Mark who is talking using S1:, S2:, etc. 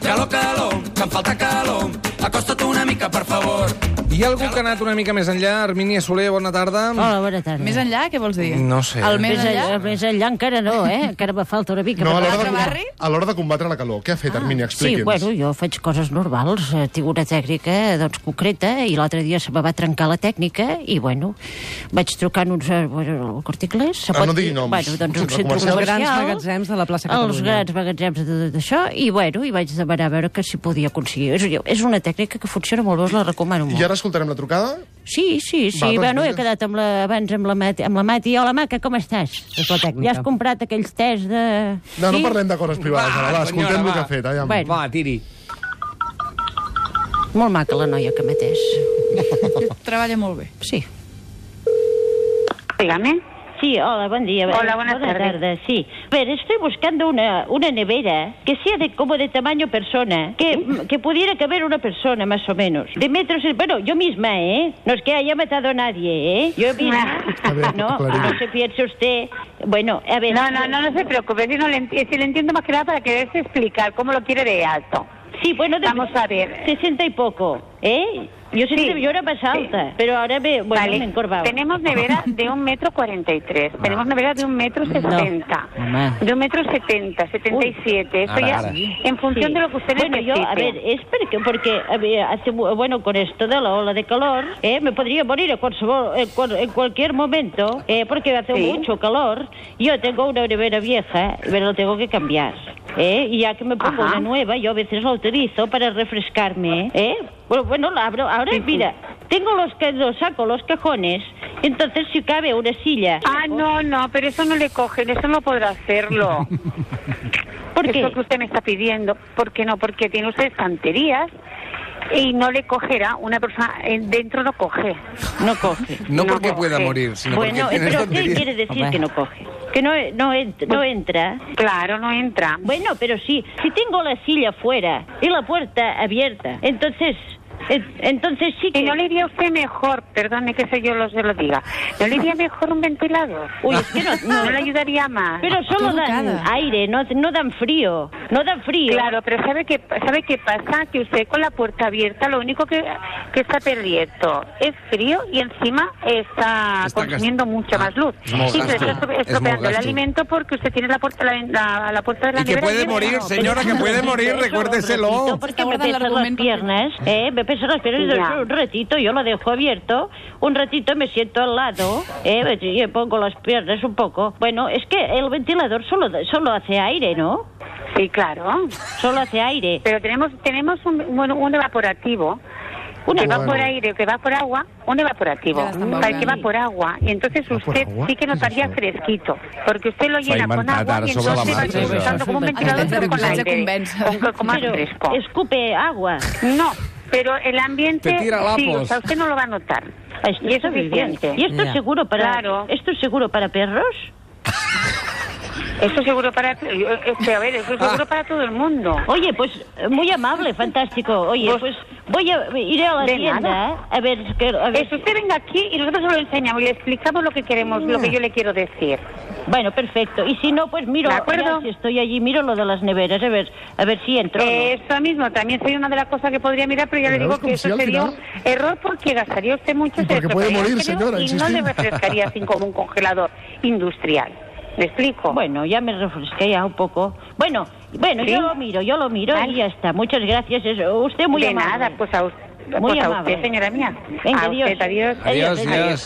S1: calor, calor, que em falta calor. Acosta't una mica, per favor.
S2: Hi ha algú que ha anat una mica més enllà? Armínia Soler, bona tarda.
S3: Mm.
S4: Ah,
S5: Hola, bona tarda.
S6: Més enllà, què vols dir?
S2: No sé.
S6: El més
S5: Més
S6: enllà?
S5: Més enllà encara no, eh? Encara me falta una mica.
S4: No,
S5: per
S4: a l'hora de,
S6: L'altre
S4: combat-
S6: barri?
S4: a l'hora de combatre la calor. Què ha fet, Armínia?
S5: Sí,
S4: Expliqui'ns.
S5: bueno, jo faig coses normals, eh, tinc una tècnica doncs, concreta i l'altre dia se me va trencar la tècnica i bueno, vaig trucant uns eh, bueno, corticles. Se
S4: Ah, no digui noms.
S5: Bueno, doncs un
S4: Centre
S5: centre
S4: comercial.
S5: comercial.
S3: Els grans magatzems de la plaça
S5: Els
S3: Catalunya.
S5: grans magatzems de tot això i bueno, i vaig demanar a veure que si podia aconseguir. És, és una tècnica que funciona molt bé, us la recomano molt.
S4: I ara escoltarem la trucada?
S5: Sí, sí, sí.
S4: Va, doncs
S5: bueno, he
S4: vinga.
S5: quedat amb la, abans amb la, Mati, amb la Mati. Hola, Maca, com estàs?
S3: És la tècnica.
S5: Ja has comprat aquells tes de...
S4: No, no parlem de coses privades,
S2: Va,
S4: ara. Va, escoltem
S2: senyora,
S4: el que
S2: va.
S4: ha fet. Allà.
S5: Bueno.
S2: Va, tiri.
S5: Molt maca la noia que m'atès.
S6: Treballa molt bé.
S5: Sí.
S7: Dígame.
S5: Sí, hola, buen día.
S7: Hola, buenas tardes.
S5: tardes, sí. A ver, estoy buscando una, una nevera que sea de como de tamaño persona, que, que pudiera caber una persona más o menos. De metros, bueno, yo misma, ¿eh? No es que haya matado a nadie, ¿eh? Yo misma.
S7: Está
S4: bien,
S5: no,
S4: Clarina.
S5: no se piense usted. Bueno, a ver.
S7: No, no, no, no se preocupe, si, no le, enti- si le entiendo más que nada para quererse explicar cómo lo quiere de alto.
S5: Sí, bueno, de-
S7: Vamos a ver.
S5: 60 y poco, ¿eh? Yo, siempre,
S7: Sí.
S5: yo era más
S7: Sí.
S5: alta, pero ahora me, bueno,
S7: Vale.
S5: me encorvaba.
S7: Tenemos nevera de un metro cuarenta y tres, tenemos nevera de un metro sesenta,
S5: Mamá.
S7: de un metro setenta, setenta y siete, eso
S2: Ara,
S7: ya
S2: ara.
S7: en función
S5: Sí.
S7: de lo que usted
S5: bueno,
S7: necesite.
S5: yo, a ver, eh, es porque, porque a ver, hace, mu- bueno, con esto de la ola de calor, eh, me podría morir a cual- en, cual- en cualquier momento, eh, porque hace
S7: Sí.
S5: mucho calor. Yo tengo una nevera vieja, pero la tengo que cambiar. ¿eh? Y ya que me pongo
S7: Ajá.
S5: una nueva, yo a veces la utilizo para refrescarme. ¿eh? Bueno, bueno, la abro. Ahora, mira, tengo los, que, los saco, los cajones, entonces si cabe una silla.
S7: Ah, no, no, pero eso no le cogen, eso no podrá hacerlo.
S5: ¿Por qué?
S7: Eso que usted me está pidiendo. ¿Por qué no? Porque tiene usted estanterías y no le cogerá, una persona eh, dentro no coge.
S5: No coge.
S2: No,
S7: No
S2: porque
S7: coge.
S2: pueda morir, sino
S5: bueno,
S2: porque
S5: eh,
S2: tienes
S5: pero ¿qué
S2: tonterías.
S5: quiere decir
S3: Hombre.
S5: que no coge? Que no, no, ent- no entra.
S7: Claro, no entra.
S5: Bueno, pero sí, si tengo la silla fuera y la puerta abierta, entonces, en- entonces sí
S7: Y
S5: que...
S7: no le iría a usted mejor, perdone que se yo lo, se lo diga, no le iría mejor un ventilador.
S5: Uy, es que no...
S7: No
S5: no.
S7: le ayudaría más.
S5: Pero solo dan
S6: Ah, educada.
S5: aire, no, no dan frío, no dan frío.
S7: Claro, pero ¿sabe qué, ¿sabe qué pasa? Que usted con la puerta abierta lo único que, que está perdiendo es frío y encima está,
S2: Está
S7: consumiendo
S2: gast- Ah,
S7: mucha más luz.
S2: es muy
S7: Sí, pero
S2: gasto,
S7: está
S2: es muy
S7: estrope- estropeando el
S2: gasto.
S7: alimento porque usted tiene la puerta, la, la- la puerta de la
S2: Y que
S7: nevera
S2: puede
S7: llena.
S2: morir, señora, que puede morir, recuérdeselo.
S5: Porque
S6: Está
S5: me
S6: guardando el
S5: pesan las
S6: argumento.
S5: piernas, eh, me pesan las piernas
S7: Ya.
S5: un ratito, yo lo dejo abierto, un ratito me siento al lado, eh, y me pongo las piernas un poco. Bueno, es que el ventilador solo, solo hace aire, ¿no?
S7: Sí, claro.
S5: Solo hace aire.
S7: Pero tenemos tenemos un, bueno, un evaporativo
S5: Un
S7: que va
S4: Bueno.
S7: por aire, que va por agua, un evaporativo,
S6: Ya está muy
S7: para que va
S6: bien.
S7: por agua, y entonces
S4: ¿Va por
S7: usted
S4: agua?
S7: sí
S4: ¿Qué
S7: que
S4: es
S7: notaría
S4: eso?
S7: fresquito, porque usted lo
S2: Se ha
S7: llena con
S2: inventado
S7: agua
S2: ahora
S7: y
S2: sobre la
S7: entonces va
S2: marcha, eso.
S7: disfrutando como un ventilador
S6: Intenta
S7: pero con
S6: que se
S7: aire,
S6: convença.
S7: con, con más
S5: Pero
S7: fresco.
S5: escupe agua.
S7: No, pero el ambiente,
S2: Te tira
S7: sí,
S2: lapos.
S7: o sea, usted no lo va a notar.
S5: Ay,
S7: Y es
S5: está muy bien.
S7: suficiente.
S5: ¿Y esto es
S3: Ya.
S5: seguro para
S7: Claro.
S5: esto es seguro para perros?
S7: Eso seguro para, este, a ver, eso
S4: Ah.
S7: seguro para todo el mundo.
S5: Oye, pues eh, muy amable, fantástico. Oye,
S7: Pues-
S5: pues voy a iré a la
S7: De
S5: tienda eh,
S7: nada.
S5: a ver que a ver-
S7: Eso Eh, usted venga aquí y nosotros se lo enseñamos y le explicamos lo que queremos,
S5: Ah.
S7: lo que yo le quiero decir.
S5: Bueno, perfecto. Y si no, pues miro,
S7: De acuerdo.
S5: ya si estoy allí, miro lo de las neveras, a ver, a ver si entro. o no.
S7: Eso mismo, también sería una de las cosas que podría mirar, pero ya le
S4: Claro,
S7: digo
S4: como
S7: que
S4: si
S7: eso
S4: al
S7: sería
S4: final-
S7: un error porque gastaría usted mucho,
S4: Y porque puede
S7: destrozaría
S4: morir,
S7: el cerebro
S4: señora,
S7: y no le
S4: insistimos.
S7: refrescaría así como un congelador industrial. ¿Me explico?
S5: Bueno, ya me refresqué ya un poco. Bueno, bueno,
S7: Sí.
S5: yo lo miro, yo lo miro
S7: Vale.
S5: y ya está. Muchas gracias. es- Usted muy
S7: de
S5: amable.
S7: nada, pues a, us-
S5: Muy
S7: pues a
S5: amable.
S7: usted, señora mía.
S5: Venga,
S7: a
S5: adiós.
S7: usted, adiós.
S2: Adiós,
S5: Adiós,
S2: adiós.